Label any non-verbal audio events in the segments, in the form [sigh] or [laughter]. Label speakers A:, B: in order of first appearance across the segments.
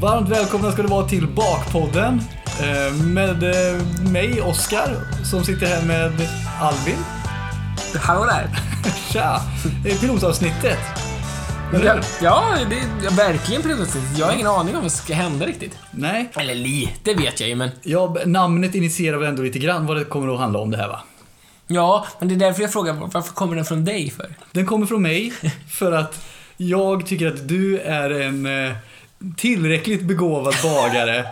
A: Varmt välkomna ska du vara till Bakpodden eh, med eh, mig, Oskar, som sitter här med Albin.
B: Hallå där!
A: Tja! Det är pilotavsnittet. Eller
B: Ja,
A: hur?
B: ja det är verkligen pilotavsnittet. Jag har ingen aning om vad som ska hända riktigt.
A: Nej.
B: Eller lite vet jag ju, men...
A: Ja, namnet initierar väl ändå lite grann vad det kommer att handla om det här va?
B: Ja, men det är därför jag frågar varför kommer den från dig för?
A: Den kommer från mig för att jag tycker att du är en eh, tillräckligt begåvad bagare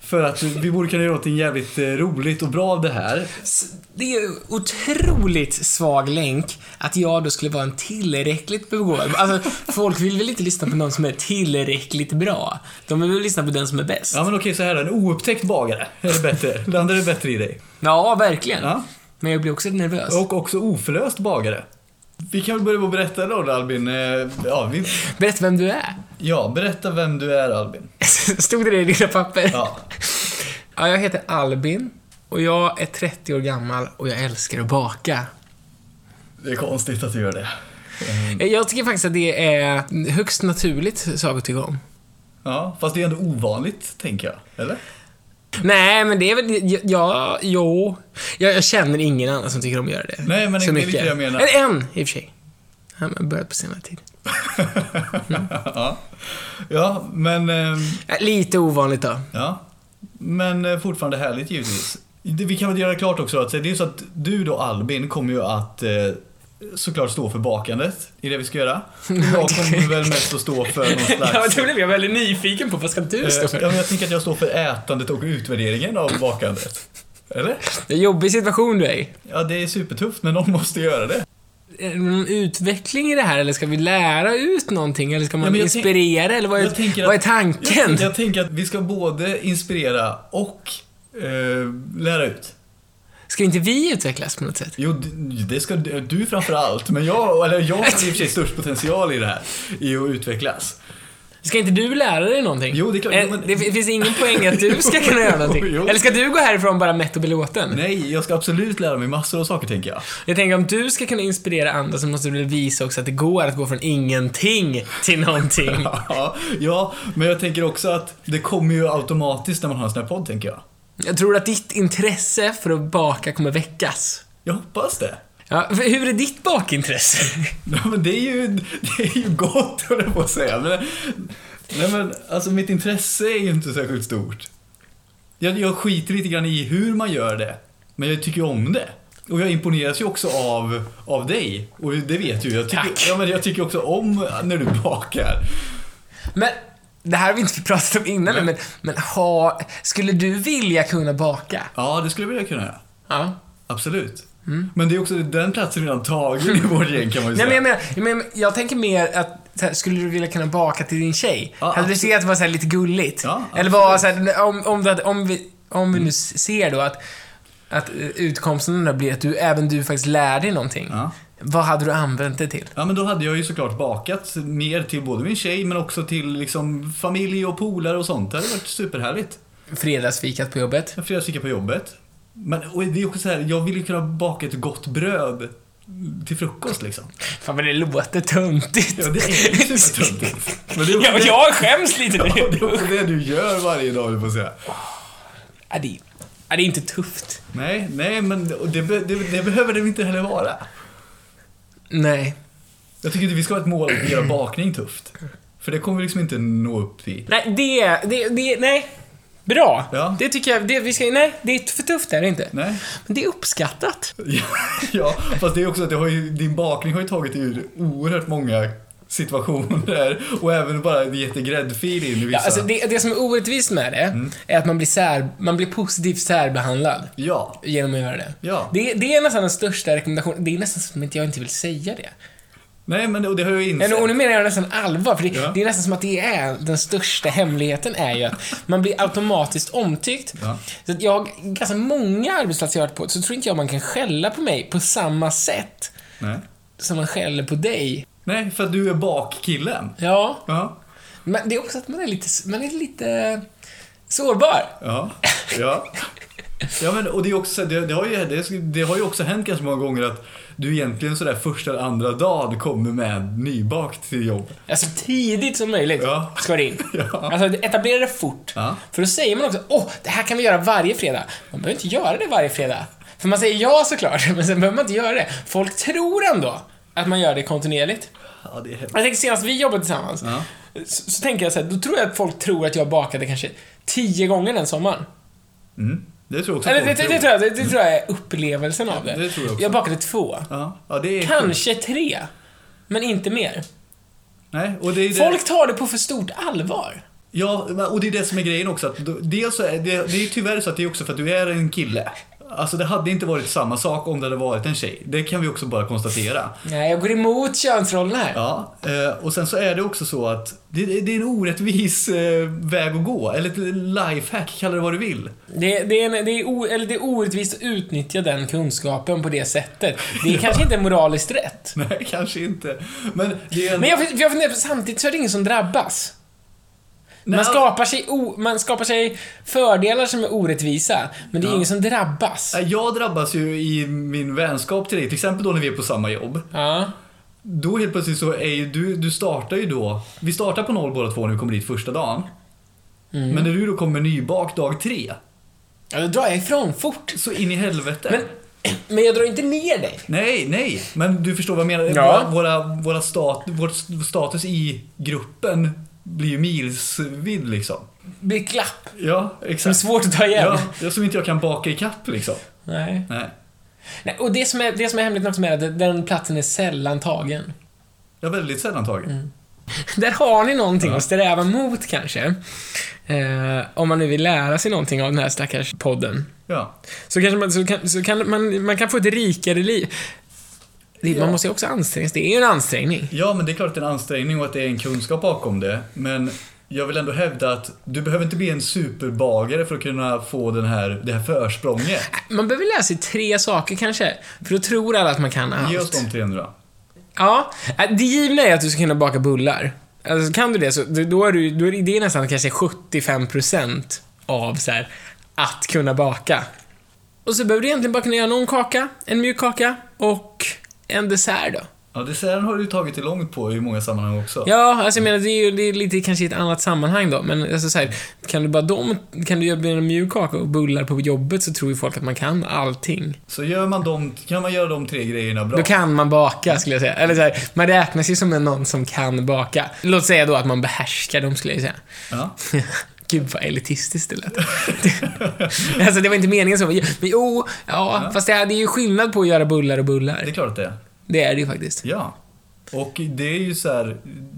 A: för att vi borde kunna göra något jävligt eh, roligt och bra av det här.
B: S- Det är ju otroligt svag länk att jag då skulle vara en tillräckligt begåvad. Alltså, folk vill väl inte lyssna på någon som är tillräckligt bra? De vill väl lyssna på den som är bäst?
A: Ja men okej så här då, en oupptäckt bagare är det bättre. Landar det bättre i dig?
B: Ja, verkligen.
A: Ja.
B: Men jag blir också nervös.
A: Och också oförlöst bagare. Vi kan väl börja med att berätta då Albin. Eh, Ja, vi,
B: Berätta vem du är. [laughs]
A: ja, berätta vem du är Albin.
B: Stod det det i dina papper?
A: Ja.
B: Ja, jag heter Albin och jag är 30 år gammal och jag älskar att baka.
A: Det är konstigt att du gör det.
B: Eh, Jag tycker faktiskt att det är högst naturligt sak att tycka om.
A: Ja, fast det är ändå ovanligt tänker jag. Eller?
B: Nej, men det är väl... Ja, jo. Jag, jag känner ingen annan som tycker om att göra det.
A: Nej, men
B: Så
A: det är lite
B: mycket.
A: det jag menar.
B: Eller en, i och för sig. Han har börjat på senare tid.
A: Mm. [laughs] ja. ja, men... ehm,
B: Ja, Eh, Lite ovanligt då.
A: Ja. Men eh, fortfarande härligt givetvis. Det- Vi kan väl göra klart också att det är ju så att du då Albin kommer ju att eh, såklart stå för bakandet i det vi ska [laughs] göra. Och Jag kommer väl mest att stå för någon [laughs] slags...
B: [laughs] Ja, det blev jag väldigt nyfiken på. Vad ska du
A: Eh,
B: stå
A: Ja,
B: för?
A: men jag tänker att jag står för ätandet och utvärderingen av bakandet. Eller?
B: Det är en jobbig situation du är i.
A: Ja, det är supertufft men någon måste göra det.
B: Är det Eh, någon utveckling i det här eller ska vi lära ut någonting eller ska man
A: Ja, men jag tänk-
B: inspirera eller vad är,
A: jag tänker att-
B: vad är tanken?
A: Jag, jag tänker att vi ska både inspirera och eh, lära ut.
B: Ska inte vi utvecklas på något sätt?
A: Jo, d- det ska du du framför allt, men jag, eller jag har i och för sig störst potential i det här, i att utvecklas.
B: Ska inte du lära dig någonting?
A: Jo, det är klart,
B: Eh,
A: jo, men-
B: Det fi- finns ingen poäng att du ska
A: [laughs]
B: kunna göra någonting.
A: Jo, jo.
B: Eller ska du gå härifrån bara mätt och belåten?
A: Nej, jag ska absolut lära mig massor av saker tänker jag.
B: Jag tänker om du ska kunna inspirera andra så måste du väl visa också att det går att gå från ingenting
A: [laughs]
B: till någonting.
A: Ja, ja, men jag tänker också att det kommer ju automatiskt när man har en sån här podd tänker jag.
B: Jag tror att ditt intresse för att baka kommer väckas.
A: Jag hoppas det.
B: Ja, för hur är ditt bakintresse?
A: Nej, men det är ju, det är ju gott höll jag på att säga. Men, nej men alltså mitt intresse är ju inte särskilt stort. Jag, jag skiter lite grann i hur man gör det. Men jag tycker ju om det. Och jag imponeras ju också av, av dig. Och det vet du jag
B: Tack.
A: tycker, ja, men jag tycker också om när du bakar.
B: Men, det här har vi inte pratat om innan men, men ha, skulle du vilja kunna baka?
A: Ja, det skulle jag vilja kunna göra.
B: Ja.
A: Absolut. Men det är också den platsen redan tagen i vårt gäng kan man ju
B: Mm.
A: säga.
B: Nej men jag menar, jag, menar, jag tänker mer att så här, skulle du vilja kunna baka till din tjej?
A: Ja,
B: hade du sett att det var så här, lite gulligt?
A: Ja, Mm.
B: Eller var så här, om, om, du hade, om, vi, om vi nu ser då att, att eh, utkomsten där blir att du, även du faktiskt lär dig någonting.
A: Ja.
B: Vad hade du använt det till?
A: Ja men då hade jag ju såklart bakat mer till både min tjej men också till liksom familj och polare och sånt. Det hade varit superhärligt.
B: Fredagsfikat på jobbet?
A: En fredagsfika på jobbet. Men och det är också så här, jag vill ju kunna baka ett gott bröd till frukost liksom.
B: Fan vad det låter töntigt.
A: Ja det är ju
B: [laughs]
A: supertöntigt. Men det är också
B: Ja,
A: det-
B: jag skäms lite nu.
A: Ja, det är också det du gör varje dag du får säga.
B: Ja, det, ja, det är inte tufft.
A: Nej, nej men det, och det, be- det, det behöver det inte heller vara.
B: Nej.
A: Jag tycker inte vi ska ha ett mål att göra bakning tufft. För det kommer vi liksom inte nå upp till.
B: Nej, det, det, det, nej. Bra.
A: Ja.
B: Det tycker jag, det, vi ska, nej, det är för tufft är det inte.
A: Nej.
B: Men det är uppskattat.
A: Ja, ja, fast det är också att det har ju, din bakning har ju tagit ur oerhört många situationer och även bara gett dig gräddfil in i
B: Ja,
A: vissa.
B: alltså det, det som är orättvist med det
A: Mm.
B: är att man blir, sär, man blir positivt särbehandlad
A: ja.
B: genom att göra det.
A: Ja.
B: det. Det är nästan den största rekommendationen. Det är nästan som att jag inte vill säga det.
A: Nej, men det, och det har jag ju
B: Men, och nu
A: insett.
B: menar jag nästan allvar, för det,
A: Ja.
B: det är nästan som att det är den största hemligheten är ju att man blir automatiskt omtyckt.
A: Ja.
B: Så att jag, ganska många arbetsplatser jag har varit på, så tror inte jag man kan skälla på mig på samma sätt
A: Nej.
B: som man skäller på dig.
A: Nej, för att du är bakkillen.
B: Ja.
A: Ja,
B: Men det är också att man är lite, man är lite sårbar.
A: ja, ja. Ja, men, och det, är också, så här, det, det, har ju, det, det har ju också hänt ganska många gånger att du egentligen sådär första eller andra dagen kommer med nybakt till jobb.
B: Alltså tidigt som möjligt
A: Ja.
B: ska det in.
A: [laughs] Ja.
B: Alltså etablera det fort.
A: Ja.
B: För då säger man också åh, det här kan vi göra varje fredag. Man behöver inte göra det varje fredag. För man säger ja såklart, [laughs] men sen behöver man inte göra det. Folk tror ändå att man gör det kontinuerligt.
A: Ja, det är hemskt.
B: Jag tänker senast vi jobbade tillsammans,
A: Ja.
B: så, så tänker jag så här, då tror jag att folk tror att jag bakade kanske tio gånger den sommaren.
A: Mm. Det tror jag också
B: Eller det,
A: folk
B: det,
A: tror.
B: det, tror jag, det, det tror jag är upplevelsen av det.
A: det tror jag också.
B: jag bakade två.
A: Ja, ja, det är sjukt.
B: Kanske tre. Men inte mer.
A: Nej, och det är det.
B: Folk tar det på för stort allvar.
A: Ja, men- och det är det som är grejen också. Att då- dels så är det, det är ju tyvärr så att det är också för att du är en kille. Alltså det hade inte varit samma sak om det hade varit en tjej. Det kan vi också bara konstatera.
B: Nej, jag går emot könsrollerna här.
A: Ja, eh, och sen så är det också så att det, det är en orättvis eh, väg att gå. Eller ett lifehack, kalla det vad du vill. [laughs]
B: Det, det, är en, det, är o, eller det är orättvist att utnyttja den kunskapen på det sättet. Det är kanske inte moraliskt rätt.
A: Nej, kanske inte. Men det är en...
B: Men jag, jag funderar på, samtidigt så är det ingen som drabbas.
A: Nej,
B: Man skapar, sig o, man skapar sig fördelar som är orättvisa, men det är ingen som drabbas.
A: Eh, Jag drabbas ju i min vänskap till dig, till exempel då när vi är på samma jobb.
B: Ja.
A: Då helt plötsligt så är ju du, du startar ju då, vi startar på noll båda två när vi kommer dit första dagen.
B: Mm.
A: Men när du då kommer nybakt dag tre,
B: ja, då drar jag ifrån fort.
A: så in i helvete.
B: Men, men jag drar inte ner dig.
A: Nej, nej, men du förstår vad jag menar.
B: Ja.
A: Våra, våra, våra stat, vår status i gruppen blir ju milsvid liksom.
B: Blir klapp.
A: Ja,
B: Det är
A: exakt.
B: svårt att ta igen.
A: Ja, det är som inte jag kan baka ikapp liksom.
B: Nej.
A: Nej.
B: Nej, och det som är, det som är hemligt också med att den platsen är sällan tagen.
A: Jag är väldigt sällan tagen.
B: Mm. Där har ni någonting att sträva mot kanske. Eh, om man nu vill lära sig någonting av den här stackars podden.
A: Ja.
B: Så kanske man, så kan, så kan man, man kan få ett rikare liv. Det, Man måste ju också anstränga sig. Det är ju en ansträngning.
A: Ja, men det är klart att det är en ansträngning och att det är en kunskap bakom det. Men jag vill ändå hävda att du behöver inte bli en superbagare för att kunna få den här, det här försprånget.
B: Man behöver lära sig tre saker kanske. För då tror alla att man kan
A: Ge oss
B: allt.
A: de 300.
B: Ja, eh, det givna är att du ska kunna baka bullar. Alltså, kan du det så då är, du, då är det- det är nästan kanske 75% av så här, att kunna baka. Och så behöver du egentligen bara kunna göra någon kaka, en mjuk kaka och en dessert då.
A: Ja, desserten har du ju tagit dig långt på i många sammanhang också.
B: Ja, alltså jag menar det är ju det är lite kanske i ett annat sammanhang då, men alltså så här, kan du bara dem, kan du göra en mjuk kaka och bullar på jobbet så tror ju folk att man kan allting.
A: Så gör man de, kan man göra de tre grejerna bra.
B: Då kan man baka, skulle jag säga. Eller så här, man räknas ju som en någon som kan baka. Låt säga då att man behärskar dem, skulle jag säga. [laughs]
A: Ja.
B: Gud vad elitistiskt det lät. [laughs] Det- alltså det var inte meningen så. Men jo, ja, fast det är, det är ju skillnad på att göra bullar och
A: Det
B: bullar.
A: är klart att det är.
B: Det är det ju faktiskt.
A: Ja. Och det är ju så här,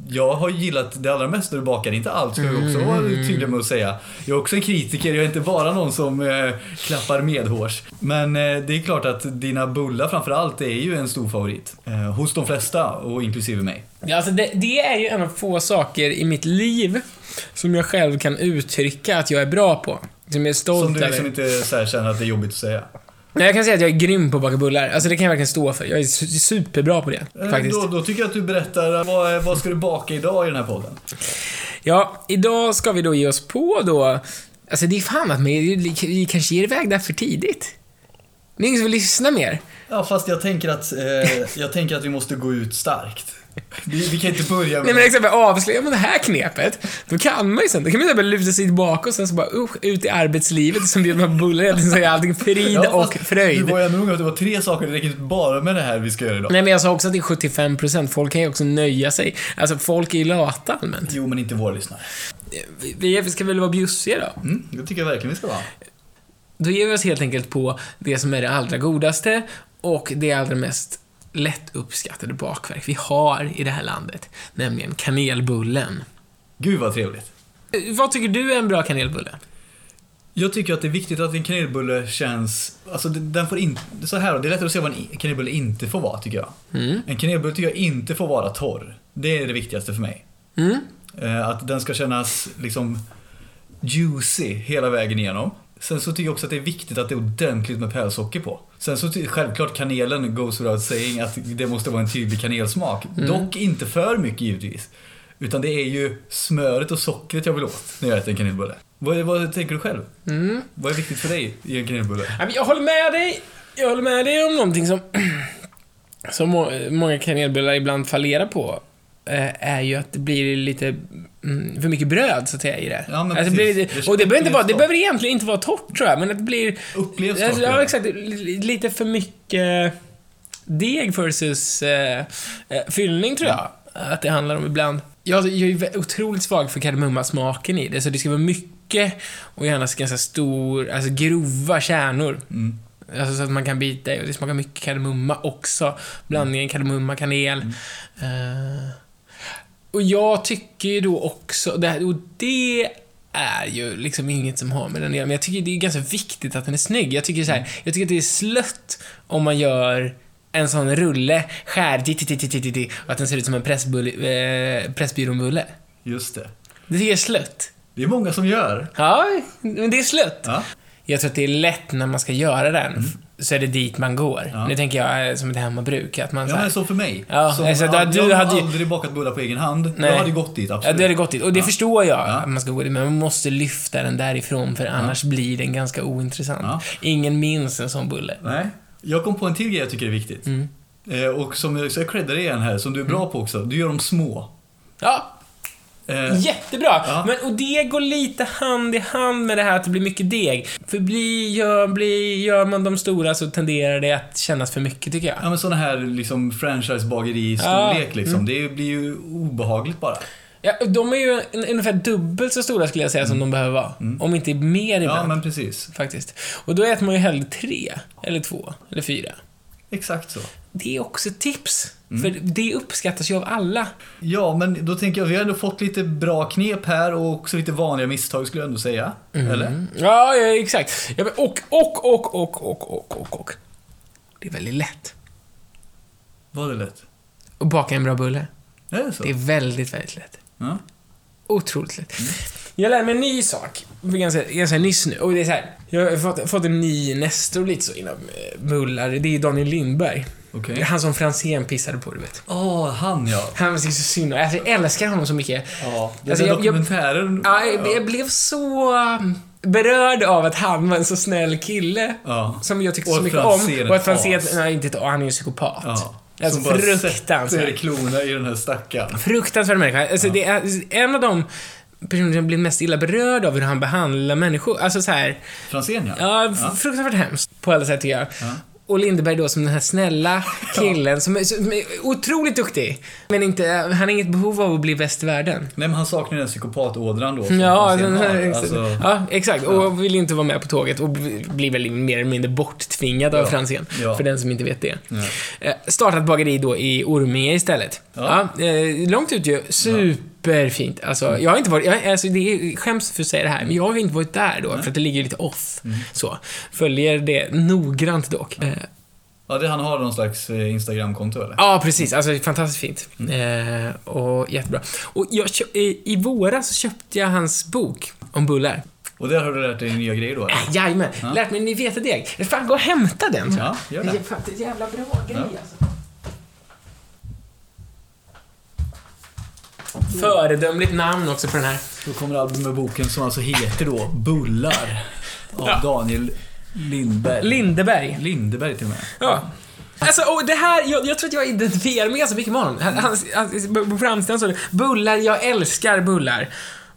A: jag har gillat det allra mesta du bakar, inte allt ska jag också vara
B: Mm.
A: tydlig med att säga. Jag är också en kritiker, jag är inte bara någon som eh, klappar medhårs. Men eh, det är klart att dina bullar framförallt är ju en stor favorit. Eh, hos de flesta, och inklusive mig.
B: Ja, Alltså det, det är ju en av få saker i mitt liv som jag själv kan uttrycka att jag är bra på. Som jag är
A: Som
B: stolt
A: du liksom
B: över.
A: inte så här känner att det är jobbigt att säga.
B: Nej, jag kan säga att jag är grym på att baka bullar. Alltså det kan jag verkligen stå för. Jag är su- superbra på det,
A: Eh,
B: faktiskt.
A: Då, då tycker jag att du berättar, eh, vad, vad ska du baka idag i den här podden?
B: Ja, idag ska vi då ge oss på då... Alltså det är fan att mig, vi kanske ger iväg det här för tidigt. Det är ingen som vill lyssna mer.
A: Ja, fast jag tänker att, eh, jag tänker att vi måste gå ut starkt. Vi, vi kan inte börja med...
B: Nej men exempel avslöjar man det här knepet, då kan man ju sen, då kan man ju bara luta sig tillbaka och sen så bara usch, ut i arbetslivet som bjuder man på bullar hela tiden, så är allting frid
A: Ja,
B: och
A: fast
B: fröjd.
A: Du var ju ändå noga med att det var tre saker, det räcker inte bara med det här vi ska göra idag.
B: Nej men jag sa också att det är 75%, folk kan ju också nöja sig. Alltså folk är ju lata allmänt.
A: Jo, men inte våra lyssnare.
B: Vi- Vi ska väl vara bjussiga då?
A: Mm, det tycker jag verkligen vi ska vara.
B: Då ger vi oss helt enkelt på det som är det allra godaste och det allra mest lättuppskattade bakverk vi har i det här landet, nämligen kanelbullen.
A: Gud vad trevligt.
B: Eh, Vad tycker du är en bra kanelbulle?
A: Jag tycker att det är viktigt att en kanelbulle känns... Alltså den den får inte... Så här då, det är lättare att se vad en i- kanelbulle inte får vara tycker jag. En kanelbulle tycker jag inte får vara torr. Det är det viktigaste för mig.
B: Mm?
A: Eh, Att den ska kännas liksom juicy hela vägen igenom. Sen så tycker jag också att det är viktigt att det är ordentligt med pärlsocker på. Sen så ty- självklart kanelen goes without saying att det måste vara en tydlig kanelsmak.
B: Mm.
A: Dock inte för mycket givetvis. Utan det är ju smöret och sockret jag vill åt när jag äter en kanelbulle. Vad, vad tänker du själv?
B: Mm.
A: Vad är viktigt för dig i en kanelbulle?
B: Ja, men Jag håller med dig. Jag håller med dig om någonting som, [clears throat] som må, många kanelbullar ibland fallerar på. eh, Är ju att det blir lite mm, för mycket bröd så att säga i det.
A: Ja, men
B: alltså, det blir
A: precis.
B: lite,
A: Det
B: och det behöver, inte vara, det
A: upplevs
B: behöver egentligen inte vara torrt tror jag, men att det blir...
A: Upplevs
B: alltså,
A: saker.
B: ja, exakt. li- Lite för mycket deg versus eh, eh, fyllning tror jag. Att det handlar om ibland. Jag, alltså, jag är vä- otroligt svag för kardemummasmaken i det, så det ska vara mycket och gärna ganska stor, alltså grova kärnor.
A: Mm.
B: Alltså så att man kan bita i och det smakar mycket kardemumma också. Blandningen kardemumma, kanel. Eh, och jag tycker ju då också, det, här- och det är ju liksom inget som har med den att göra, men jag tycker det är ganska viktigt att den är snygg. Jag tycker så här, jag tycker att det är slött om man gör en sån rulle, skär, di, di, di, di, di, di, och att den ser ut som en pressbulle, eh, Pressbyrån-bulle.
A: Just det.
B: Det tycker jag är slött.
A: Det är många som gör.
B: Ja, men det är slött.
A: Ja.
B: Jag tror att det är lätt när man ska göra den, så är det dit man går.
A: Mm. Ja.
B: Nu tänker jag eh, som ett hemmabruk, att man
A: Ja,
B: så
A: men
B: här,
A: så för mig.
B: Ja,
A: som,
B: alltså,
A: jag
B: du
A: jag har
B: hade ju-
A: aldrig bakat bullar på egen hand.
B: Nej.
A: Jag hade gått dit,
B: Ja,
A: absolut.
B: det hade gått dit. Och det
A: Ja.
B: förstår jag,
A: Ja.
B: att man ska gå dit. Men man måste lyfta den därifrån, för annars blir den ganska ointressant.
A: Ja.
B: Ingen minns en sån bulle.
A: Nej. Jag kom på en till grej jag tycker är viktigt.
B: Mm.
A: Eh, och som jag, så jag creddar dig igen här, som du är bra på också. Du gör dem små.
B: Ja,
A: Eh,
B: jättebra!
A: Ja.
B: Men, och det går lite hand i hand med det här att det blir mycket deg. För bli, gör, bli, gör man de stora så tenderar det att kännas för mycket, tycker jag.
A: Ja men sådana här liksom franchisebageri-storlek liksom.
B: Mm.
A: Det blir ju obehagligt bara.
B: Ja, de är ju en- ungefär dubbelt så stora, skulle jag säga, som de behöver vara. Om inte mer
A: Mm. Ja
B: ibland.
A: men precis.
B: Faktiskt. Och då äter man ju hellre tre, eller två, eller fyra.
A: Exakt så.
B: Det är också ett tips. För det uppskattas ju av alla.
A: Ja men då tänker jag, vi har ändå fått lite bra knep här och också lite vanliga misstag skulle jag ändå säga.
B: Mm.
A: Eller?
B: Ja, ja exakt. Ja, men och, och, och, och, och, och, och, och. Det är väldigt lätt
A: Var det lätt?
B: att baka en bra bulle.
A: Är det så?
B: Det är väldigt, väldigt lätt.
A: Ja.
B: Otroligt lätt. Jag lärde mig en ny sak för ganska, ganska nyss nu. Och det är så här, jag har fått, fått en ny nestor lite så inom eh, bullar. Det är Daniel Lindberg.
A: Okej.
B: Han som Franzén pissade på, du vet.
A: Åh, han ja.
B: Han är så synd om. Alltså, jag älskar honom så mycket.
A: Ja, den
B: Alltså,
A: där
B: jag- jag-
A: dokumentären.
B: Ja, jag, jag blev så um, berörd av att han var en så snäll kille.
A: Ja.
B: Som jag tyckte
A: Och
B: så
A: att
B: mycket
A: Franzén är
B: om. Och att
A: ett
B: Franzén...
A: as.
B: Nej, inte ett han är ju psykopat.
A: Ja.
B: Alltså
A: Som bara sätter
B: fruktansvärt.
A: klorna i den här stackaren.
B: Fruktansvärd människa. Alltså, det är en av de personer som blir mest illa berörd av hur han behandlar människor. Alltså så här,
A: Franzén ja.
B: ja, f- fruktansvärt hemskt på alla sätt tycker jag. Och Lindeberg då som den här [laughs] snälla killen som, är, som är otroligt duktig. Men inte, han har inget behov av att bli bäst i världen.
A: Nej men han saknar den psykopatådran då. som
B: Ja,
A: Franzén
B: den
A: har.
B: här,
A: Alltså,
B: ja, [laughs] exakt. Och vill inte vara med på tåget och bli- blir väl mer eller mindre borttvingad av
A: Ja.
B: Franzén.
A: Ja.
B: För den som inte vet det. Eh, Startat bageri då i Orminge istället. Ja.
A: Ja. Mm.
B: eh, långt ut ju. Superfint. Alltså, jag har inte varit... Jag, alltså, det är, skäms för att säga det här, men jag har ju inte varit där då, för att det ligger lite off. Så. Följer det noggrant dock. Eh,
A: Mm. ja, det, han har någon slags eh, Instagramkonto eller?
B: Ja, precis. Alltså, det är fantastiskt fint.
A: Mm.
B: Eh, och jättebra. Och jag, kö- i, I våras så köpte jag hans bok om bullar.
A: Och där har du lärt dig nya grejer då? Eller?
B: Ah, Jajamän, lärt mig ny vetedeg. Fan, gå och hämta den. tror jag.
A: Ja, gör
B: Det är
A: det.
B: fan en jävla bra grej
A: Ja.
B: alltså. Föredömligt namn också på den här.
A: Då kommer albumboken som alltså heter då Bullar av
B: Ja.
A: Daniel Lindberg.
B: Lindeberg.
A: Lindeberg till och med.
B: Ja. Alltså, och det här, jag, jag tror att jag identifierar mig ganska mycket med honom. Han, han, han, på framsidan står det “Bullar, jag älskar bullar”.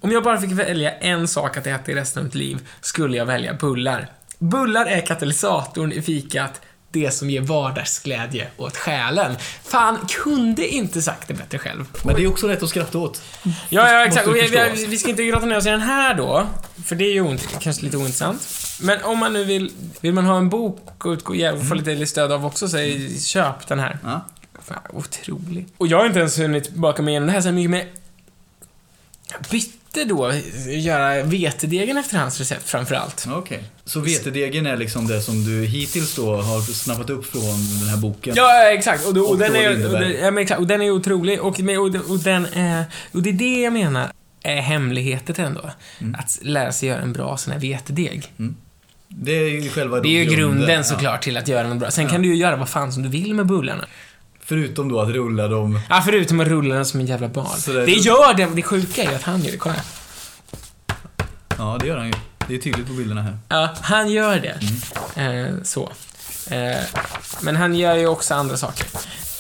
B: Om jag bara fick välja en sak att äta i resten av mitt liv skulle jag välja bullar. Bullar är katalysatorn i fikat, det som ger vardagsglädje åt själen. Fan, kunde inte sagt det bättre själv.
A: Men det är också lätt att skratta åt.
B: Ja, ja exakt.
A: Måste
B: Och
A: du
B: vi, vi,
A: förstå.
B: vi ska inte gråta ner oss i den här då, för det är ju ont, kanske lite ointressant. Men om man nu vill, vill man ha en bok och utgå- ja, få lite stöd av också, så är- köp den här.
A: Mm. Ja.
B: Fan, otrolig. Och jag har inte ens hunnit baka mig igenom det här så mycket, men jag bytte då, göra vetedegen efter hans recept framförallt.
A: Okej. Så vetedegen är liksom det som du hittills då har snappat upp från den här boken?
B: Ja, ja, exakt. Och, då, och,
A: Och
B: den
A: då
B: är, och,
A: Lindeberg.
B: den, ja, men exakt. och den är otrolig. Och, men- och, och, den är, och det är det jag menar är hemligheten ändå.
A: Mm.
B: Att lära sig göra en bra sån här vetedeg.
A: Det är ju själva då
B: Det är ju grunden
A: Mm. ja.
B: såklart till att göra något bra. Sen kan du ju göra vad fan som du vill med bullarna.
A: Förutom då att rulla dem.
B: Ja, förutom att rulla den som en jävla barn.
A: Så det-
B: Det gör det, det sjuka är ju att han gör det. Kolla här.
A: Ja, det gör han ju. Det är tydligt på bilderna här.
B: Ja, han gör det.
A: Mm.
B: Eh, så. Eh, men han gör ju också andra saker.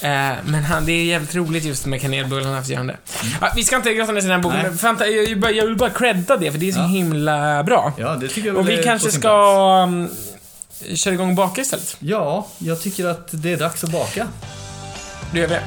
B: Eh, men han, det är jävligt roligt just med kanelbullarna efter han det. Ja, vi ska inte grotta ner oss i den här boken,
A: Mm. Nej.
B: men fanta, jag, jag, vill bara- jag vill bara credda det, för det är så
A: Ja.
B: himla bra.
A: Ja, det tycker jag
B: Och
A: väl
B: vi
A: är
B: kanske
A: på sin plats.
B: ska mm, köra igång baka istället.
A: Ja, jag tycker att det är dags att baka.
B: Då gör vi det.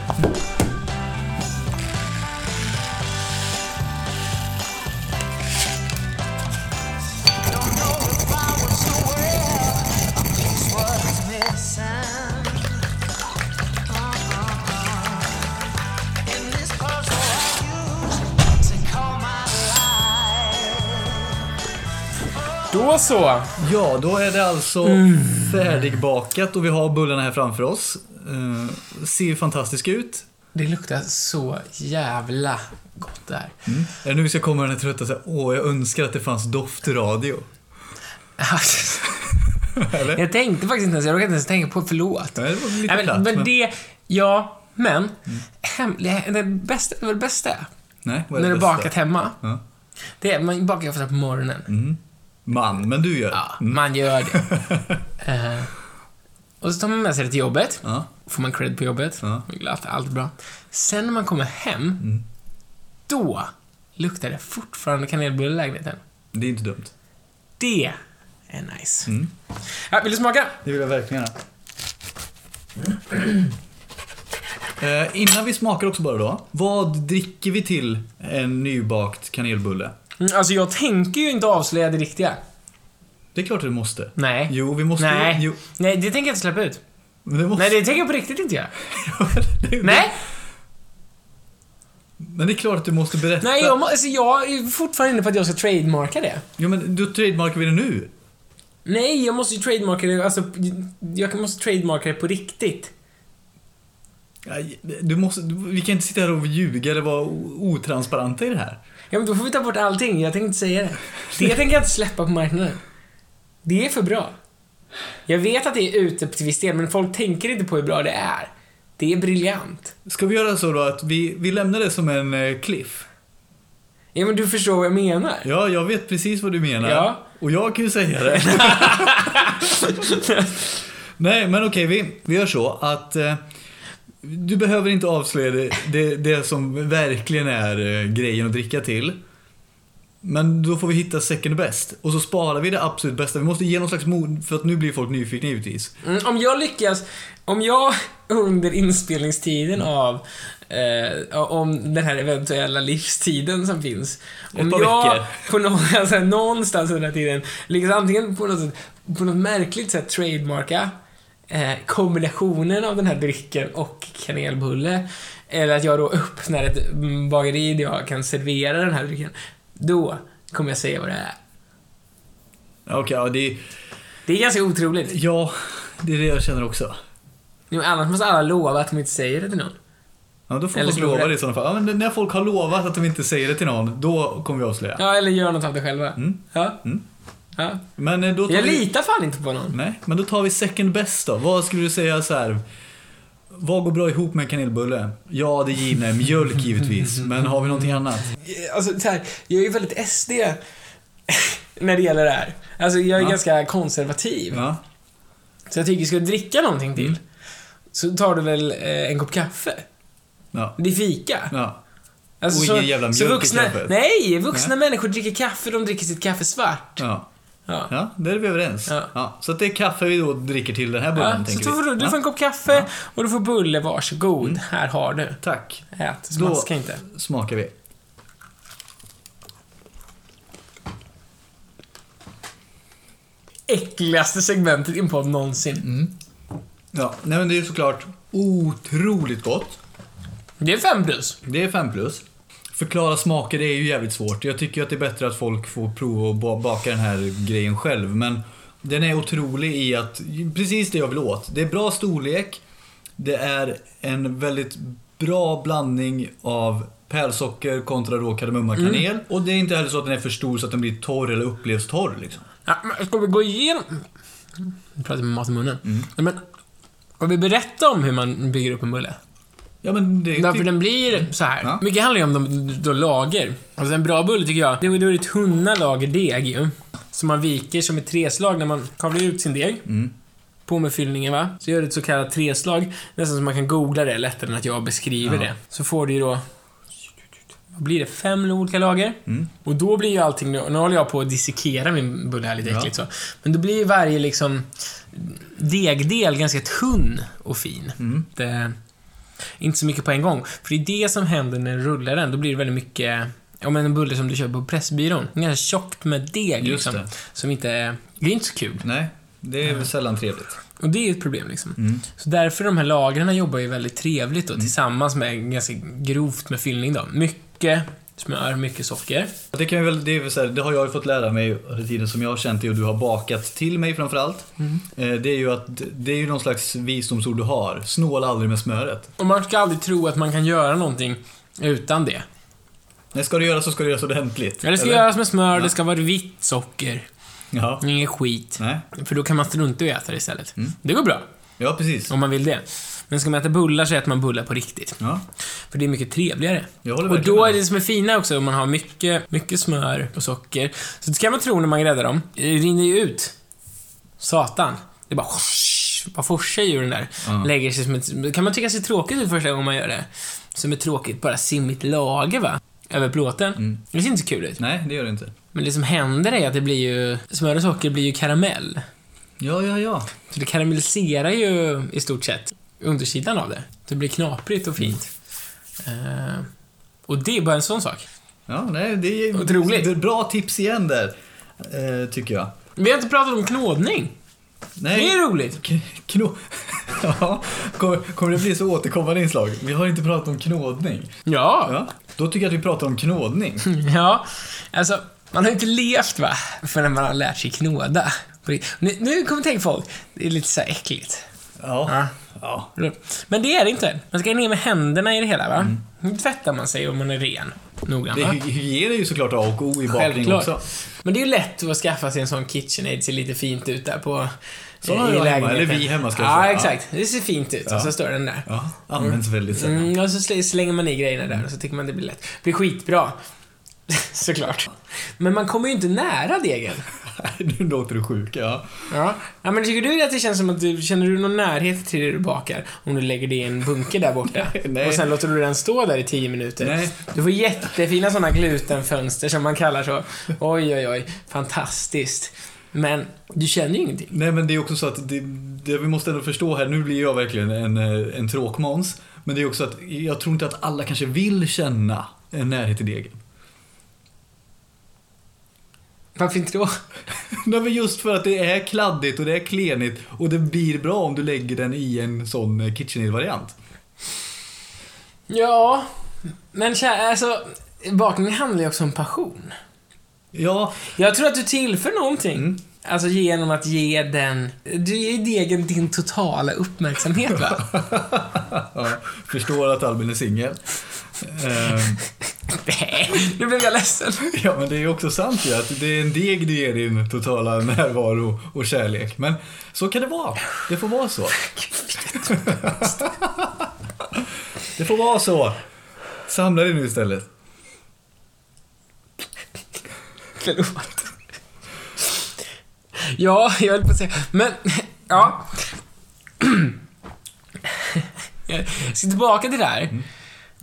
B: Då så.
A: Ja, då är det alltså
B: Mm.
A: färdigbakat och vi har bullarna här framför oss. Eh, ser ju fantastiska ut.
B: Det luktar så jävla gott där. [laughs]
A: Mm. Är det nu vi ska komma med den här trötta såhär, åh, jag önskar att det fanns doftradio. [laughs] Eller?
B: jag tänkte faktiskt inte ens, jag råkade inte ens tänka på förlåt.
A: Nej, det var lite
B: Nej, men,
A: platt,
B: men
A: men- Mm.
B: det, ja, men. Hemliga, det bästa, det bästa är,
A: Nej, vad är
B: när
A: det
B: du
A: bästa?
B: bakat hemma,
A: Ja. Mm.
B: det är, man bakar ju ofta på morgonen.
A: Man, men du gör det.
B: Ja, man gör det.
A: [laughs]
B: Eh, och så tar man med sig det till jobbet,
A: Ja.
B: får man cred på jobbet,
A: Ja. Mm.
B: glatt, allt bra. Sen när man kommer hem, då luktar det fortfarande kanelbulle i lägenheten.
A: Det är inte dumt.
B: Det är nice.
A: Mm.
B: Ja, vill du smaka?
A: Det vill jag verkligen göra. [clears throat] Eh, innan vi smakar också bara då. Vad dricker vi till en nybakt kanelbulle?
B: Mm, Alltså jag tänker ju inte avslöja det riktiga.
A: Det är klart att du måste.
B: Nej.
A: Jo, vi måste
B: Nej.
A: Jo,
B: Nej, det tänker jag inte släppa ut.
A: men det måste
B: Nej, det tänker jag på riktigt inte göra.
A: du. [laughs]
B: Nej,
A: Men det är klart att du måste berätta.
B: nej jag, må- alltså, jag är fortfarande inne på att jag ska trademarka det.
A: Jo, men då trademarkar vi det nu.
B: Nej, jag måste ju trademarka det, alltså jag måste trademarka det på riktigt.
A: Nej, Du måste, du- vi kan inte sitta här och ljuga eller vara o- otransparenta i det här.
B: Ja, men då får vi ta bort allting. Jag tänkte inte säga det. Det tänker jag inte släppa på marknaden. Det är för bra. Jag vet att det är ute till viss del, men folk tänker inte på hur bra det är. Det är briljant.
A: Ska vi göra så då att vi, vi lämnar det som en eh, cliff?
B: Ja, men du förstår vad jag menar.
A: Ja, jag vet precis vad du menar.
B: Ja.
A: Och jag kan ju säga
B: [laughs]
A: det. Nej, men okej, vi, vi gör så att eh, du behöver inte avslöja det, det, det som verkligen är eh, grejen att dricka till. Men då får vi hitta second best. Och så sparar vi det absolut bästa. Vi måste ge någon slags mod, för att nu blir folk nyfikna givetvis.
B: Mm, om jag lyckas, om jag [laughs] under inspelningstiden av eh, om den här eventuella livstiden som finns. Om
A: par
B: jag
A: veckor.
B: på någon, [laughs] alltså, någonstans under den här tiden lyckas antingen på något, sätt, på något märkligt sätt trademarka eh, kombinationen av den här drycken och kanelbulle. Eller att jag då öppnar ett mm, bageri där jag kan servera den här drycken. Då kommer jag säga vad det är.
A: Okej, ja, det,
B: Det är ganska otroligt.
A: ja, det är det jag känner också.
B: Jo, Annars måste alla lova att de inte säger det till någon.
A: Ja, då får
B: Eller
A: folk
B: tror
A: lova
B: det.
A: det i sådana fall. Ja, men när folk har lovat att de inte säger det till någon, då kommer vi avslöja.
B: Ja, eller gör något av det själva. Ja. ja.
A: Men eh, då tar
B: Jag
A: vi-
B: litar fan inte på någon.
A: Nej, men då tar vi second best då. Vad skulle du säga så här? Vad går bra ihop med en kanelbulle? Ja, det givna är mjölk givetvis, men har vi någonting annat?
B: Alltså, så här, jag är ju väldigt SD [laughs] när det gäller det här. Alltså, jag är
A: Ja.
B: ganska konservativ. Mm.
A: Ja.
B: Så jag tycker, ska du dricka någonting till, så tar du väl eh, en kopp kaffe?
A: ja.
B: Det är fika.
A: ja.
B: Alltså,
A: Och
B: så,
A: ingen jävla
B: så
A: mjölk i
B: vuxna,
A: kaffet.
B: Nej, vuxna människor dricker kaffe, de dricker sitt kaffe svart.
A: Ja.
B: Ja.
A: Ja, där är vi överens.
B: Ja.
A: Så att det är kaffe vi då dricker till den här bullen,
B: Mm, Ja, Mm. så
A: tänker
B: tar
A: vi.
B: du, du
A: Ja.
B: får en kopp kaffe och du får bulle, varsågod. Här har du.
A: Tack.
B: Ät,
A: Då
B: smaska inte.
A: smakar vi.
B: Äckligaste segmentet i en podd någonsin.
A: Ja, nej men det är ju såklart otroligt gott.
B: Det är fem plus.
A: Det är 5 plus. Förklara smaker det är ju jävligt svårt. Jag tycker ju att det är bättre att folk får prova att ba- baka den här grejen själv. Men den är otrolig i att, precis det jag vill åt. Det är bra storlek. Det är en väldigt bra blandning av pärlsocker kontra rå kardemummakanel. Och det är inte heller så att den är för stor så att den blir torr eller upplevs torr liksom.
B: Ja, men ska vi gå igenom... Nu pratar jag med mat i munnen. Nej, Men, ska vi berätta om hur man bygger upp en bulle?
A: Ja, men det...
B: Därför den blir så här.
A: Ja.
B: Mycket handlar ju om de, de lager. Alltså en bra bulle tycker jag, det är då är det tunna lager deg ju. Som man viker som ett treslag när man kavlar ut sin deg. På med fyllningen va. Så gör du ett så kallat treslag. Nästan som man kan googla det lättare än att jag beskriver det. Så får du ju då... Vad blir det? Fem olika lager.
A: Mm.
B: Och då blir ju allting... Nu håller jag på att dissekera min bulle här lite
A: Ja.
B: äckligt så. Men då blir ju varje liksom degdel ganska tunn och fin.
A: Mm.
B: Det, inte så mycket på en gång. För det är det som händer när du rullar den. Då blir det väldigt mycket, ja men en bulle som du köper på Pressbyrån. Ganska tjockt med deg
A: Just
B: liksom.
A: det.
B: Som inte är, det är inte så kul.
A: Nej, det är väl sällan trevligt.
B: Och det är ett problem liksom.
A: Mm.
B: Så därför de här lagren jobbar ju väldigt trevligt då, tillsammans med ganska grovt med fyllning då. Mycket smör, mycket socker.
A: Det, kan ju väl, det, är väl så här, det har jag ju fått lära mig under tiden som jag har känt dig och du har bakat till mig framförallt. Mm. Det är ju att det är ju någon slags visdomsord du har. Snåla aldrig med smöret.
B: Och man ska aldrig tro att man kan göra någonting utan det.
A: Nej, ska du göra så ska du göra så ordentligt.
B: Ja, det ska
A: eller?
B: göras med smör, det ska vara vitt socker.
A: Ja.
B: Inget skit.
A: Nej.
B: För då kan man strunta i att äta det istället. Det går bra.
A: ja, precis.
B: Om man vill det. Men ska man äta bullar så äter man bullar på riktigt.
A: Ja.
B: För det är mycket trevligare.
A: Jag håller
B: Och
A: verkligen
B: då
A: med.
B: är det som är fina också, om man har mycket, mycket smör och socker. Så det kan man tro när man gräddar dem. Det rinner ju ut. Satan. Det bara bara forsar ju den där.
A: Ja.
B: Lägger sig som ett... Det kan man tycka ser tråkigt ut första gången man gör det. Som ett tråkigt, bara simmigt lager va? Över plåten.
A: Mm.
B: Det ser inte så kul ut.
A: Nej, det gör du inte.
B: Men det som händer är att det blir ju... Smör och socker blir ju karamell.
A: Ja, ja, ja.
B: Så det karamelliserar ju i stort sett undersidan av det. Det blir knaprigt och fint. Eh, och det är bara en sån sak.
A: Ja, nej, det är
B: Otroligt.
A: Det är bra tips igen där, eh, tycker jag.
B: Vi har inte pratat om knådning. Det
A: Nej,
B: är roligt.
A: k- kno... [laughs] ja, kommer, kommer det bli så återkommande inslag? Vi har inte pratat om knådning.
B: Ja.
A: Ja, då tycker jag att vi pratar om knådning.
B: Ja. Alltså, man har ju inte levt va? Förrän man har lärt sig knåda. Nu, nu kommer tänk folk, det är lite så här äckligt.
A: Ja. ja.
B: Men det är det inte. Man ska ner med händerna i det hela va? Nu tvättar man sig om man är ren. Noggrann
A: Mm. Det,
B: va?
A: hy- hygien är ju såklart A och O i bakning
B: Självklart.
A: också.
B: Men det är ju lätt att skaffa sig en sån KitchenAid, ser lite fint ut där på...
A: Såna
B: eh,
A: har
B: i
A: jag hemma,
B: lägenheten.
A: eller vi hemma, ska jag
B: Ja,
A: säga.
B: exakt. Det ser fint ut. Och så står den där.
A: Ja, används väldigt sällan.
B: Mm, och så sl- slänger man i grejerna där och så tycker man det blir lätt. Det blir skitbra. [laughs] Såklart. Men man kommer ju inte nära degen.
A: [laughs] nu låter du sjuk, ja.
B: Ja. ja. Men tycker du att det känns som att du, känner du någon närhet till det du bakar? Om du lägger det i en bunke där borta.
A: nej.
B: Och sen låter du den stå där i 10 minuter.
A: Nej.
B: Du får jättefina sådana glutenfönster som man kallar så. Oj, oj, oj. Fantastiskt. Men du känner ju ingenting.
A: Nej men det är också så att det, det vi måste ändå förstå här, nu blir jag verkligen en, eh, en tråkmåns. Men det är också att jag tror inte att alla kanske vill känna en närhet till degen. [laughs]
B: Varför inte då?
A: Nej men just för att det är kladdigt och det är klenigt och det blir bra om du lägger den i en sån eh, KitchenAid-variant.
B: Ja, men kä- alltså, bakning handlar ju också om passion.
A: Ja,
B: Jag tror att du tillför någonting. Alltså genom att ge den... Du ger degen din totala uppmärksamhet va? [laughs]
A: ja förstår att Albin är singel. Ehm,
B: Nej, nu blev jag ledsen.
A: Ja, men det är ju också sant ju att det är en deg du ger din totala närvaro och kärlek. Men så kan det vara. Det får vara
B: [laughs]
A: så. Det får vara så. Samla dig nu istället.
B: Förlåt. Ja, jag höll på att säga... Men, ja. Jag ska tillbaka till det här.
A: Mm.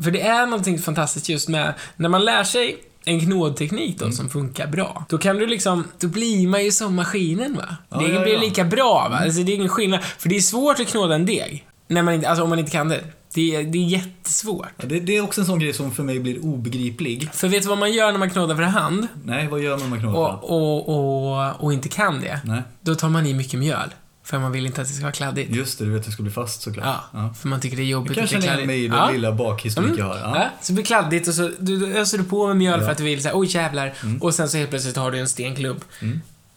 B: För det är någonting fantastiskt just med, när man lär sig en knådteknik
A: Mm.
B: då som funkar bra. Då kan du liksom, då blir man ju som maskinen va.
A: Ja,
B: Degen
A: ja,
B: blir
A: ja. Mm.
B: lika bra va. Alltså, det är ingen skillnad. För det är svårt att knåda en deg. När man inte, alltså om man inte kan det. Det är, det är jättesvårt.
A: Ja, Det, det är också en sån grej som för mig blir obegriplig.
B: För vet du vad man gör när man knådar för hand?
A: Nej, vad gör man med
B: och,
A: knopen?
B: och, och, och inte kan det,
A: Nej.
B: då tar man i mycket mjöl. För man vill inte att det ska vara kladdigt.
A: Just det, du vet att det ska bli fast såklart.
B: Ja, För man tycker det är jobbigt
A: Kanske
B: att det är
A: känner
B: kladdigt.
A: mig i den
B: ja. Mm.
A: lilla bakhistoriken jag har. Ja.
B: Ja, så blir det kladdigt och så du, du öser du på med mjöl för att du vill såhär, oj jävlar.
A: Mm.
B: Och sen så helt plötsligt har du en stenklump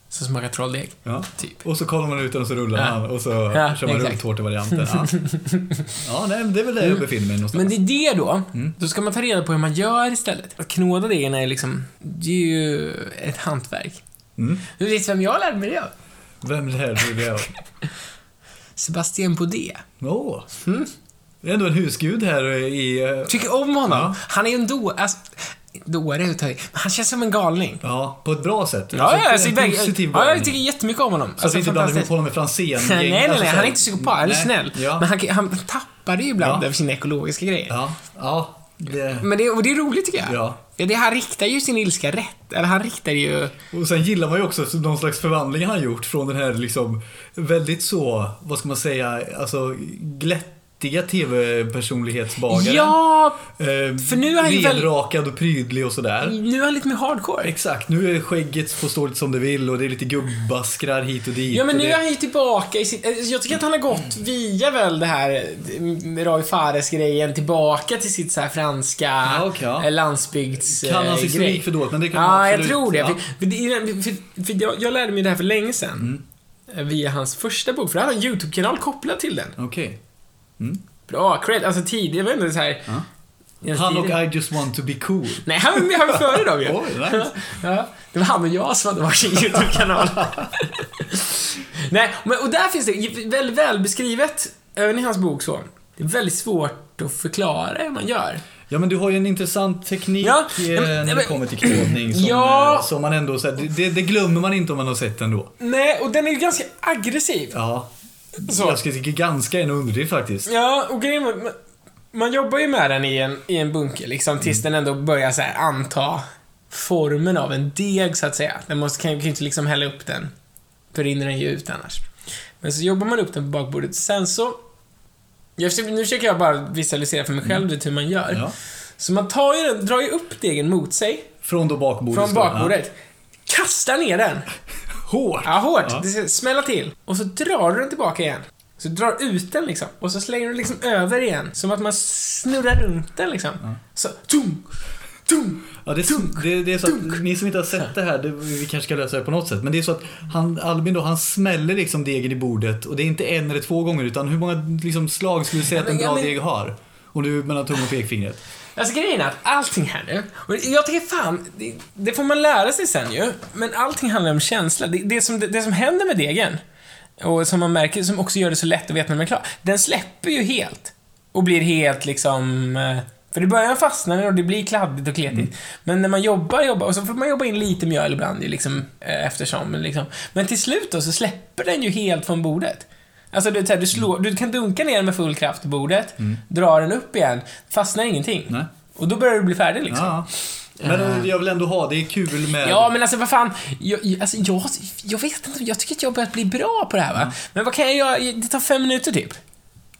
B: som smakar trolldeg.
A: Ja.
B: Typ.
A: Och så kollar man ut den och så rullar
B: Ja.
A: man och så kör
B: Ja,
A: man
B: exakt. Mm.
A: rulltårtevarianten.
B: [laughs]
A: Ja, ja nej, men det är väl där jag befinner mig någonstans.
B: Men det är det då.
A: Mm.
B: Då ska man ta reda på hur man gör istället. Att knåda degen är liksom, det är ju ett hantverk.
A: Mm.
B: Du vet vem jag lärde mig det av?
A: Vem lärde dig det? av?
B: Sebastian Podé.
A: Åh! Det är ändå en husgud här i... eh,
B: Tycker om honom.
A: Ja.
B: Han är ju en då... Alltså, dåre är att ta i. Men Han känns som en galning.
A: Ja, på ett bra sätt.
B: Ja, ja, alltså,
A: en
B: väg-
A: positiv
B: ja,
A: galning.
B: jag tycker jättemycket om honom.
A: Så att vi Alltså, inte blandar ihop
B: Alltså, fantastiskt.
A: honom med Franzén.
B: [laughs] Nej, nej,
A: Alltså,
B: nej.
A: så
B: Han
A: här-
B: är inte psykopat. Han är
A: Nej.
B: snäll.
A: Ja.
B: Men han, han tappar det ju ibland
A: Ja.
B: över sina ekologiska grejer.
A: Ja, ja. Det.
B: Men det, och det är roligt tycker jag.
A: Ja.
B: Ja, det, han riktar ju sin ilska rätt. Eller han riktar ju...
A: Och sen gillar man ju också någon slags förvandling han gjort från den här liksom väldigt så, vad ska man säga, alltså glättiga TV-personlighetsbagaren.
B: Ja!
A: eh,
B: för nu är han ju väl-
A: Renrakad och prydlig och sådär.
B: Nu är han lite mer hardcore.
A: Exakt, nu är skägget får stå lite som det vill och det är lite gubbaskrar hit och dit.
B: Ja men
A: och
B: nu
A: det...
B: är han ju tillbaka i sitt... eh, Jag tycker att han har gått via väl det här eh, Roy Fares-grejen tillbaka till sitt så här franska
A: Ja, okej, ja.
B: eh, landsbygds... eh,
A: Kan hans historik
B: grej.
A: för dåligt, men det kan man
B: Ja, jag
A: absolut-
B: tror det.
A: ja.
B: För, för, det är- för, för jag, jag lärde mig det här för länge sedan.
A: Mm.
B: Eh, Via hans första bok, för han har en YouTube-kanal kopplad till den.
A: Okej.
B: Bra, cred. Alltså tidigt, jag vet inte så här... Jens
A: Han och
B: Tidig-
A: I just want to be cool.
B: Nej, han var, han var före dem ju.
A: [laughs] Oj, nice.
B: ja, det var han och jag som hade varsin YouTube-kanal. [laughs] Nej, men, och där finns det väldigt väl beskrivet, även i hans bok så. Det är väldigt svårt att förklara hur man gör.
A: Ja men du har ju en intressant teknik
B: Ja,
A: eh,
B: nej, men-
A: när
B: nej,
A: det
B: men-
A: kommer till knådning som,
B: Ja.
A: eh, som man ändå så här, det- det, det glömmer man inte om man har sett den då.
B: Nej, och den är ju ganska aggressiv.
A: Ja.
B: Så.
A: Jag skulle tycka ganska är en underdrift faktiskt.
B: Ja, och grejen var, man, man jobbar ju med den i en, i en bunker liksom, tills
A: Mm.
B: den ändå börjar så här, anta formen av en deg, så att säga. Den måste, kan ju kan ju inte liksom hälla upp den, för rinner den ju ut annars. Men så jobbar man upp den på bakbordet. Sen så... Jag, försöker- nu försöker jag bara visualisera för mig själv vet hur man gör.
A: Mm. Ja.
B: Så man tar ju den, drar ju upp degen mot sig,
A: Från då bakbordet.
B: från
A: står det,
B: bakbordet. Kastar ner den.
A: Ja. Hårt!
B: Ja, hårt.
A: Ja.
B: Det ska smälla till. Och så drar du den tillbaka igen. Så du drar ut den liksom. Och så slänger du liksom över igen. Som att man snurrar runt den liksom. Så, tung, tung.
A: Ja, det, är, s- det, det är så att, ni som inte har sett det här, det, vi kanske ska lösa det på något sätt. Men det är så att han, Albin då, han smäller liksom degen i bordet. Och det är inte en eller två gånger, utan hur många liksom, slag skulle du säga att en
B: Men-
A: bra
B: men-
A: deg har? Om du mellan tum och pekfingret.
B: Alltså grejen är att allting här nu, och jag tycker fan, det, det får man lära sig sen ju, men allting handlar om känsla. Det, det, som, det, det som händer med degen, och som man märker, som också gör det så lätt att veta när den är klar, den släpper ju helt. Och blir helt liksom... eh, För i början fastnar den och det blir kladdigt och kletigt. Men när man jobbar, jobbar, och så får man jobba in lite mjöl ibland ju liksom, eh, eftersom. men Liksom. Men till slut då så släpper den ju helt från bordet. Alltså du, du, slår, du kan dunka ner den med full kraft i bordet, dra den upp igen, fastnar ingenting.
A: Nej.
B: Och då börjar du bli färdig liksom. Ja.
A: Ja. Men eh, jag vill ändå ha, det är kul med...
B: men alltså vad fan, jag, jag- alltså, jag, jag vet inte, jag tycker att jag har börjat bli bra på det här va. Men vad kan jag göra? Det tar fem minuter typ.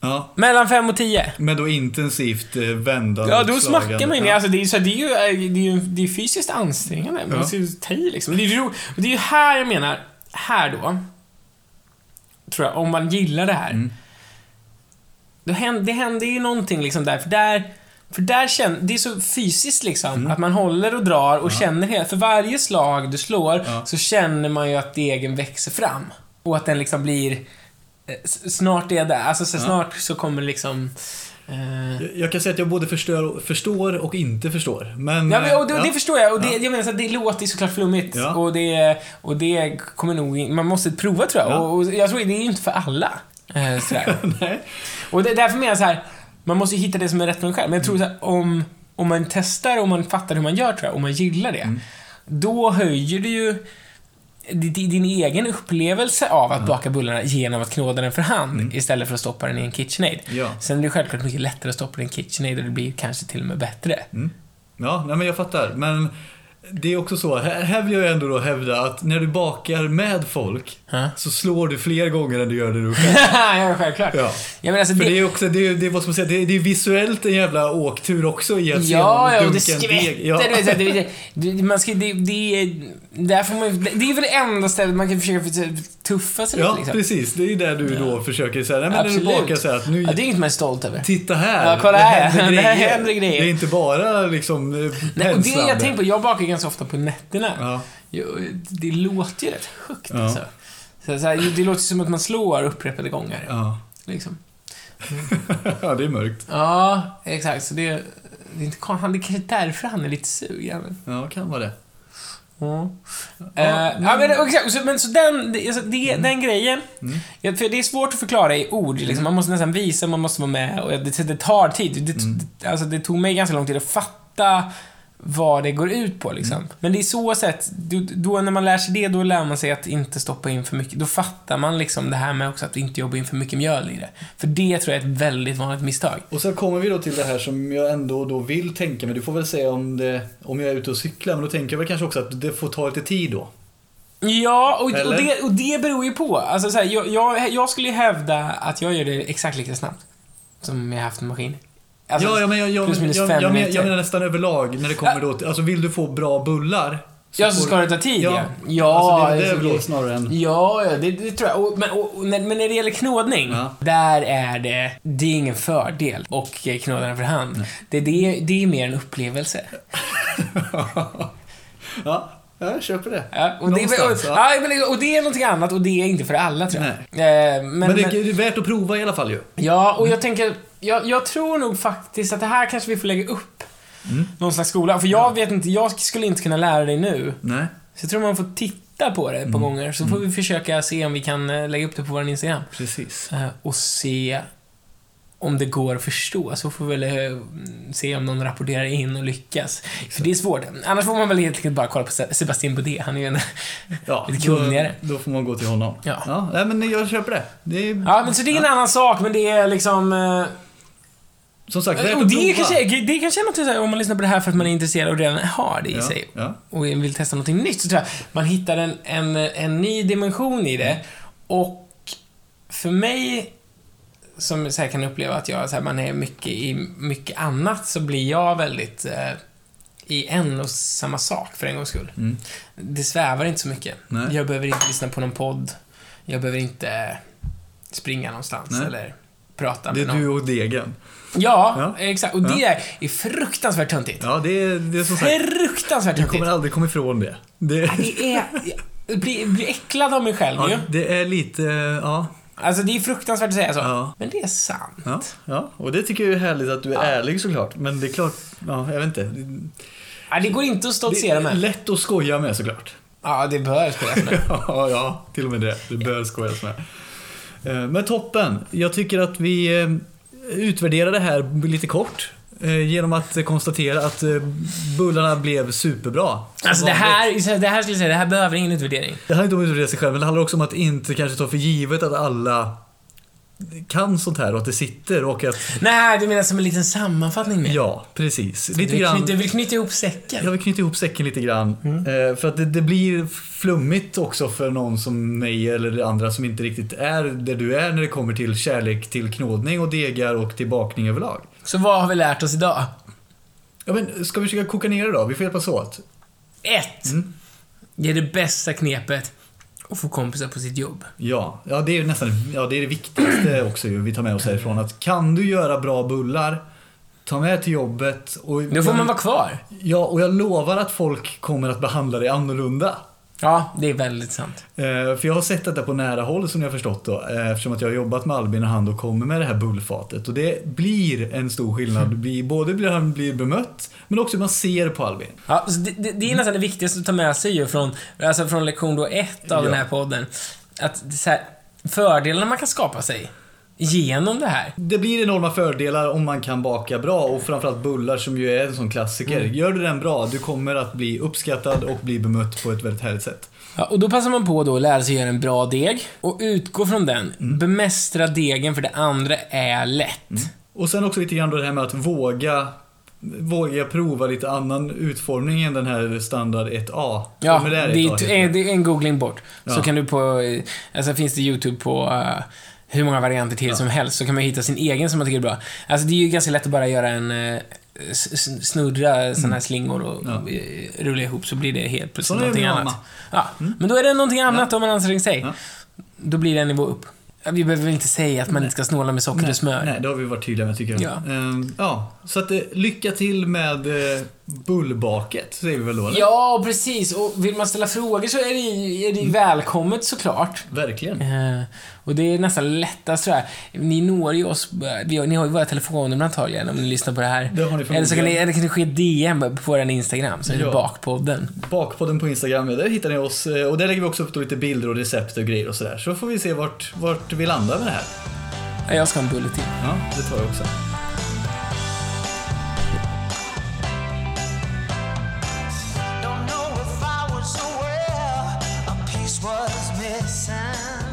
A: Ja.
B: Mellan fem och tio.
A: Men då intensivt eh, vända
B: Ja,
A: och
B: då
A: slagen.
B: smackar man ju ner.
A: Ja.
B: Alltså, det, är ju så här, det är ju det är ju, det är fysiskt ansträngande. Man
A: Ja.
B: måste ju ta i liksom. Det är, ju ro, det är ju här jag menar, här då, tror jag, om man gillar det här.
A: Mm.
B: Då händer, det händer ju någonting liksom där, för där för där känner, det är så fysiskt liksom,
A: Mm.
B: att man håller och drar och känner hela, för varje slag du slår
A: Ja.
B: så känner man ju att degen växer fram. Och att den liksom blir, eh, s- snart är jag där, alltså så snart så kommer liksom eh,
A: Jag- Jag kan säga att jag både förstör, förstår och inte förstår. Men,
B: Ja, men, och det,
A: eh,
B: det förstår jag. Och det, jag menar, så att det låter ju såklart flummigt.
A: Ja.
B: Och, det, och det kommer nog... in- Man måste prova, tror jag.
A: Ja.
B: Och, och jag tror det är ju inte för alla. Eh,
A: [laughs]
B: sådär.
A: Nej.
B: och det, därför menar jag så här, man måste ju hitta det som är rätt för en själv. Men jag tror
A: Mm.
B: så här, om, om man testar och man fattar hur man gör, tror jag, och man gillar det,
A: Mm.
B: då höjer du ju di- di- din egen upplevelse av att baka bullarna genom att knåda den för hand istället för att stoppa den i en KitchenAid.
A: Mm. Ja.
B: Sen är det självklart mycket lättare att stoppa den i en KitchenAid och det blir kanske till och med bättre.
A: Mm. Ja, nej, men jag fattar. Men det är också så, här, här vill jag ändå då hävda att när du bakar med folk
B: Ja.
A: så slår du fler gånger än du gör det du själv.
B: [laughs] ja, självklart.
A: Ja.
B: Ja, men alltså
A: För
B: det,
A: det är också, det är, det är vad ska man säga, det är, det är visuellt en jävla åktur också i att se någon
B: Ja, ja, och det
A: dunka en deg.
B: skvätter.
A: Ja.
B: Du vet, så här, det, det, man ska, det, det, är, där får man, ju- det är väl det enda stället man kan försöka för- tuffa sig
A: Ja,
B: lite. Liksom.
A: precis. Det är ju där du då försöker säga, nej men när du
B: Absolut.
A: bakar så här att nu
B: Ja, det är inget man är stolt över.
A: Titta här!
B: Ja, kolla här.
A: händer
B: [laughs] Det här
A: grejer.
B: händer grejer.
A: Det är inte bara liksom
B: Nej, och det
A: penslande.
B: jag tänker på, jag bakar ganska ofta på nätterna.
A: Ja.
B: Jag, det låter ju rätt högt
A: Ja.
B: alltså. Så, så här, det låter som att man slår upprepade gånger.
A: Ja. [laughs]
B: Liksom.
A: ja, det är mörkt.
B: ja, exakt. Så det, det är inte kon- han, Det är kanske därför han är lite sugen.
A: Ja, kan vara det.
B: Mm.
A: Ja,
B: Eh, ja, men, exakt. så, men så den, det, alltså, det, den grejen, ja, för det är svårt att förklara i ord. Liksom. Man måste nästan visa, man måste vara med och det, det tar tid. Det, det, alltså, det tog mig ganska lång tid att fatta vad det går ut på. Liksom. Men det är så sätt, då, då när man lär sig det, då lär man sig att inte stoppa in för mycket. Då fattar man liksom det här med också att inte jobba in för mycket mjöl i det. För det tror jag är ett väldigt vanligt misstag.
A: Och så kommer vi då till det här som jag ändå då vill tänka mig. Du får väl säga om, det, om jag är ute och cyklar. Men då tänker jag väl kanske också att det får ta lite tid då.
B: Ja, och, och,
A: Eller?
B: det, och det beror ju på. Alltså, så här, jag, jag, jag skulle ju hävda att jag gör det exakt lika snabbt som jag haft en maskin. Alltså,
A: ja, ja, men jag, jag,
B: plus minus
A: jag,
B: fem
A: jag, men,
B: minuter.
A: jag menar nästan överlag när det kommer då till, alltså vill du få bra bullar?
B: Ja, så
A: får-
B: ska det ta tid, ja. Ja,
A: Ja, alltså, det, det är väl
B: så-
A: då snarare än...
B: Ja, ja, det, det tror jag. Och, men, och, och när, men när det gäller knådning,
A: Ja.
B: där är det, det är ingen fördel och eh, knåda den för hand. Det, det, det är mer en upplevelse.
A: ja, jag köper det.
B: Ja, och, det, och, och,
A: Någonstans, ja.
B: ja, men- och det är någonting annat och det är inte för alla tror jag. Eh,
A: Men det är värt att prova i alla fall ju.
B: Ja,
A: Mm.
B: och jag tänker, jag, jag tror nog faktiskt att det här kanske vi får lägga upp
A: Mm.
B: någon slags skola. För jag vet inte, jag skulle inte kunna lära dig nu.
A: Nej.
B: Så jag tror man får titta på det ett
A: Mm.
B: par gånger, så får vi försöka se om vi kan eh, lägga upp det på vår Instagram.
A: Precis.
B: Eh, Och se om det går att förstå, så får vi väl eh, se om någon rapporterar in och lyckas. För det är svårt. Annars får man väl helt enkelt bara kolla på Se- Sebastian Boudet, han är ju en...
A: Ja,
B: [laughs] Lite
A: då,
B: kunnigare.
A: då får man gå till honom.
B: Ja.
A: ja nej, men jag köper det. det är,
B: Ja, men så det är en annan sak, men det är liksom... eh,
A: Som sagt, värt
B: Och
A: att
B: det, är
A: prova.
B: kanske, det kanske är något så här, om man lyssnar på det här för att man är intresserad och redan har det i
A: ja,
B: sig
A: Ja.
B: och vill testa någonting nytt så tror jag man hittar en, en, en ny dimension i det. Och för mig, som så här kan uppleva att jag, så här, man är mycket i mycket annat, så blir jag väldigt eh, i en och samma sak för en gångs skull.
A: Mm.
B: Det svävar inte så mycket.
A: Nej.
B: Jag behöver inte lyssna på någon podd. Jag behöver inte springa någonstans
A: Nej.
B: eller prata
A: Det
B: med
A: är
B: någon.
A: du och degen.
B: Ja,
A: Ja.
B: exakt. Och det är fruktansvärt töntigt.
A: Ja, det är, det är som sagt.
B: Fruktansvärt
A: Du
B: töntigt.
A: kommer aldrig komma ifrån det. Det,
B: Det är... Jag blir, blir äcklad av mig själv ju.
A: ja, det är lite, ja,
B: Alltså det är fruktansvärt att säga så.
A: Ja.
B: Men det är sant.
A: ja, ja. Och det tycker jag är härligt att du är ärlig såklart. Men det är klart, ja, jag vet inte. Det,
B: Ja, det går inte att
A: det
B: stoltsera
A: är
B: med.
A: lätt att skoja med såklart.
B: Ja, det bör
A: [laughs]
B: Alltså, spelas med.
A: Ja, ja, till och med det. Det bör skojas med. Eh, Men toppen. Jag tycker att vi eh, utvärderar det här lite kort. eh, Genom att eh, konstatera att eh, bullarna blev superbra. Som
B: Alltså det
A: vanligt.
B: här, det här skulle jag säga, det här behöver ingen utvärdering.
A: Det handlar inte om att utvärdera sig själv, men det handlar också om att inte kanske ta för givet att alla kan sånt här och att det sitter och att...
B: Nej, du menar som en liten sammanfattning med.
A: Ja, precis.
B: du,
A: Lite
B: vill
A: grann...
B: knyta, du vill knyta ihop
A: Jag
B: säcken.
A: vill knyta ihop säcken lite grann.
B: Mm.
A: Eh, För att det, det blir flummigt också för någon som mig eller andra som inte riktigt är där du är när det kommer till kärlek till knådning och degar och till bakning överlag.
B: Så vad har vi lärt oss idag?
A: Ja men ska vi försöka koka ner det då? Vi får hjälpas åt.
B: Ett.
A: Mm.
B: Det är det bästa knepet. Att få kompisar på sitt jobb.
A: Ja, ja det är ju nästan ja, det, är det viktigaste
B: [clears throat]
A: också ju, vi tar med oss härifrån. Att kan du göra bra bullar, ta med till jobbet och...
B: Då får man vara kvar.
A: Ja, och jag lovar att folk kommer att behandla dig annorlunda.
B: Ja, det är väldigt sant.
A: Eh, För jag har sett detta på nära håll som ni har förstått då. eh, Eftersom att jag har jobbat med Albin och han då kommer med det här bullfatet. Och det blir en stor skillnad.
B: Mm.
A: Det blir- Både blir han blir bemött, men också hur man ser på Albin.
B: Ja, så det, det, det är nästan det viktigaste att ta med sig ju från, alltså från lektion då ett av
A: Ja.
B: den här podden. Att det är så här, fördelarna man kan skapa sig genom det här.
A: Det blir enorma fördelar om man kan baka bra och framförallt bullar som ju är en sån klassiker.
B: Mm.
A: Gör du den bra, du kommer att bli uppskattad och bli bemött på ett väldigt härligt sätt.
B: Ja, och då passar man på då att lära sig göra en bra deg och utgå från den. Bemästra degen för det andra är lätt.
A: Och sen också lite grann då det här med att våga Våga prova lite annan utformning än den här standard 1A.
B: Ja,
A: Kommer
B: det är,
A: 1A heter
B: en- det är en googling bort. Så
A: Ja.
B: kan du på, eh, alltså finns det YouTube på eh, hur många varianter till som helst, så kan man hitta sin egen som man tycker är bra. Alltså det är ju ganska lätt att bara göra en, eh, s- s- snurra sådana här slingor och
A: Mm. Ja.
B: eh, rulla ihop så blir det helt plötsligt
A: Sådana är
B: någonting
A: min
B: annat.
A: mamma. Mm.
B: Ja, men då är det någonting annat om man anstränger sig.
A: Ja.
B: Då blir det en nivå upp. Ja, Vi behöver väl inte säga att man inte ska snåla med socker och smör.
A: Nej, det har vi varit tydliga med tycker jag.
B: Ja.
A: Ehm, ja, så att eh, lycka till med eh, Bullbaket, säger vi väl då? Eller?
B: Ja, precis. Och vill man ställa frågor så är det, ju- är
A: Mm.
B: det ju välkommet såklart.
A: Verkligen.
B: Eh, och det är nästan lättast tror jag. Ni når ju oss, eh, vi har, ni har ju våra telefonnummer antagligen om ni lyssnar på det här.
A: Det har ni
B: Eller så kan ni,
A: förmodligen.
B: eller kan ni skicka DM på vår Instagram, så är det
A: Ja.
B: bakpodden.
A: Bakpodden på Instagram, ja, där hittar ni oss. eh, Och där lägger vi också upp då lite bilder och recept och grejer och sådär. Så får vi se vart, vart vi landar med det här.
B: Ja, Jag ska ha en bulle till.
A: Ja, det tar jag också.
C: Don't know if I was aware a piece was missing.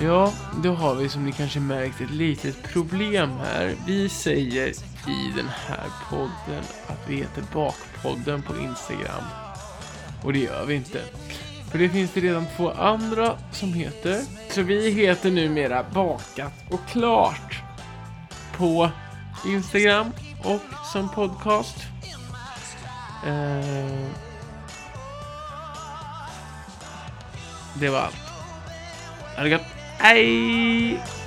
D: Ja, då har vi som ni kanske märkt ett litet problem här. Vi säger i den här podden att vi heter Bakpodden på Instagram. Och det gör vi inte. För det finns det redan två andra som heter. Så vi heter numera Bakat och Klart. På Instagram och som podcast. Eh... Det var allt. Ha det gott. Hej!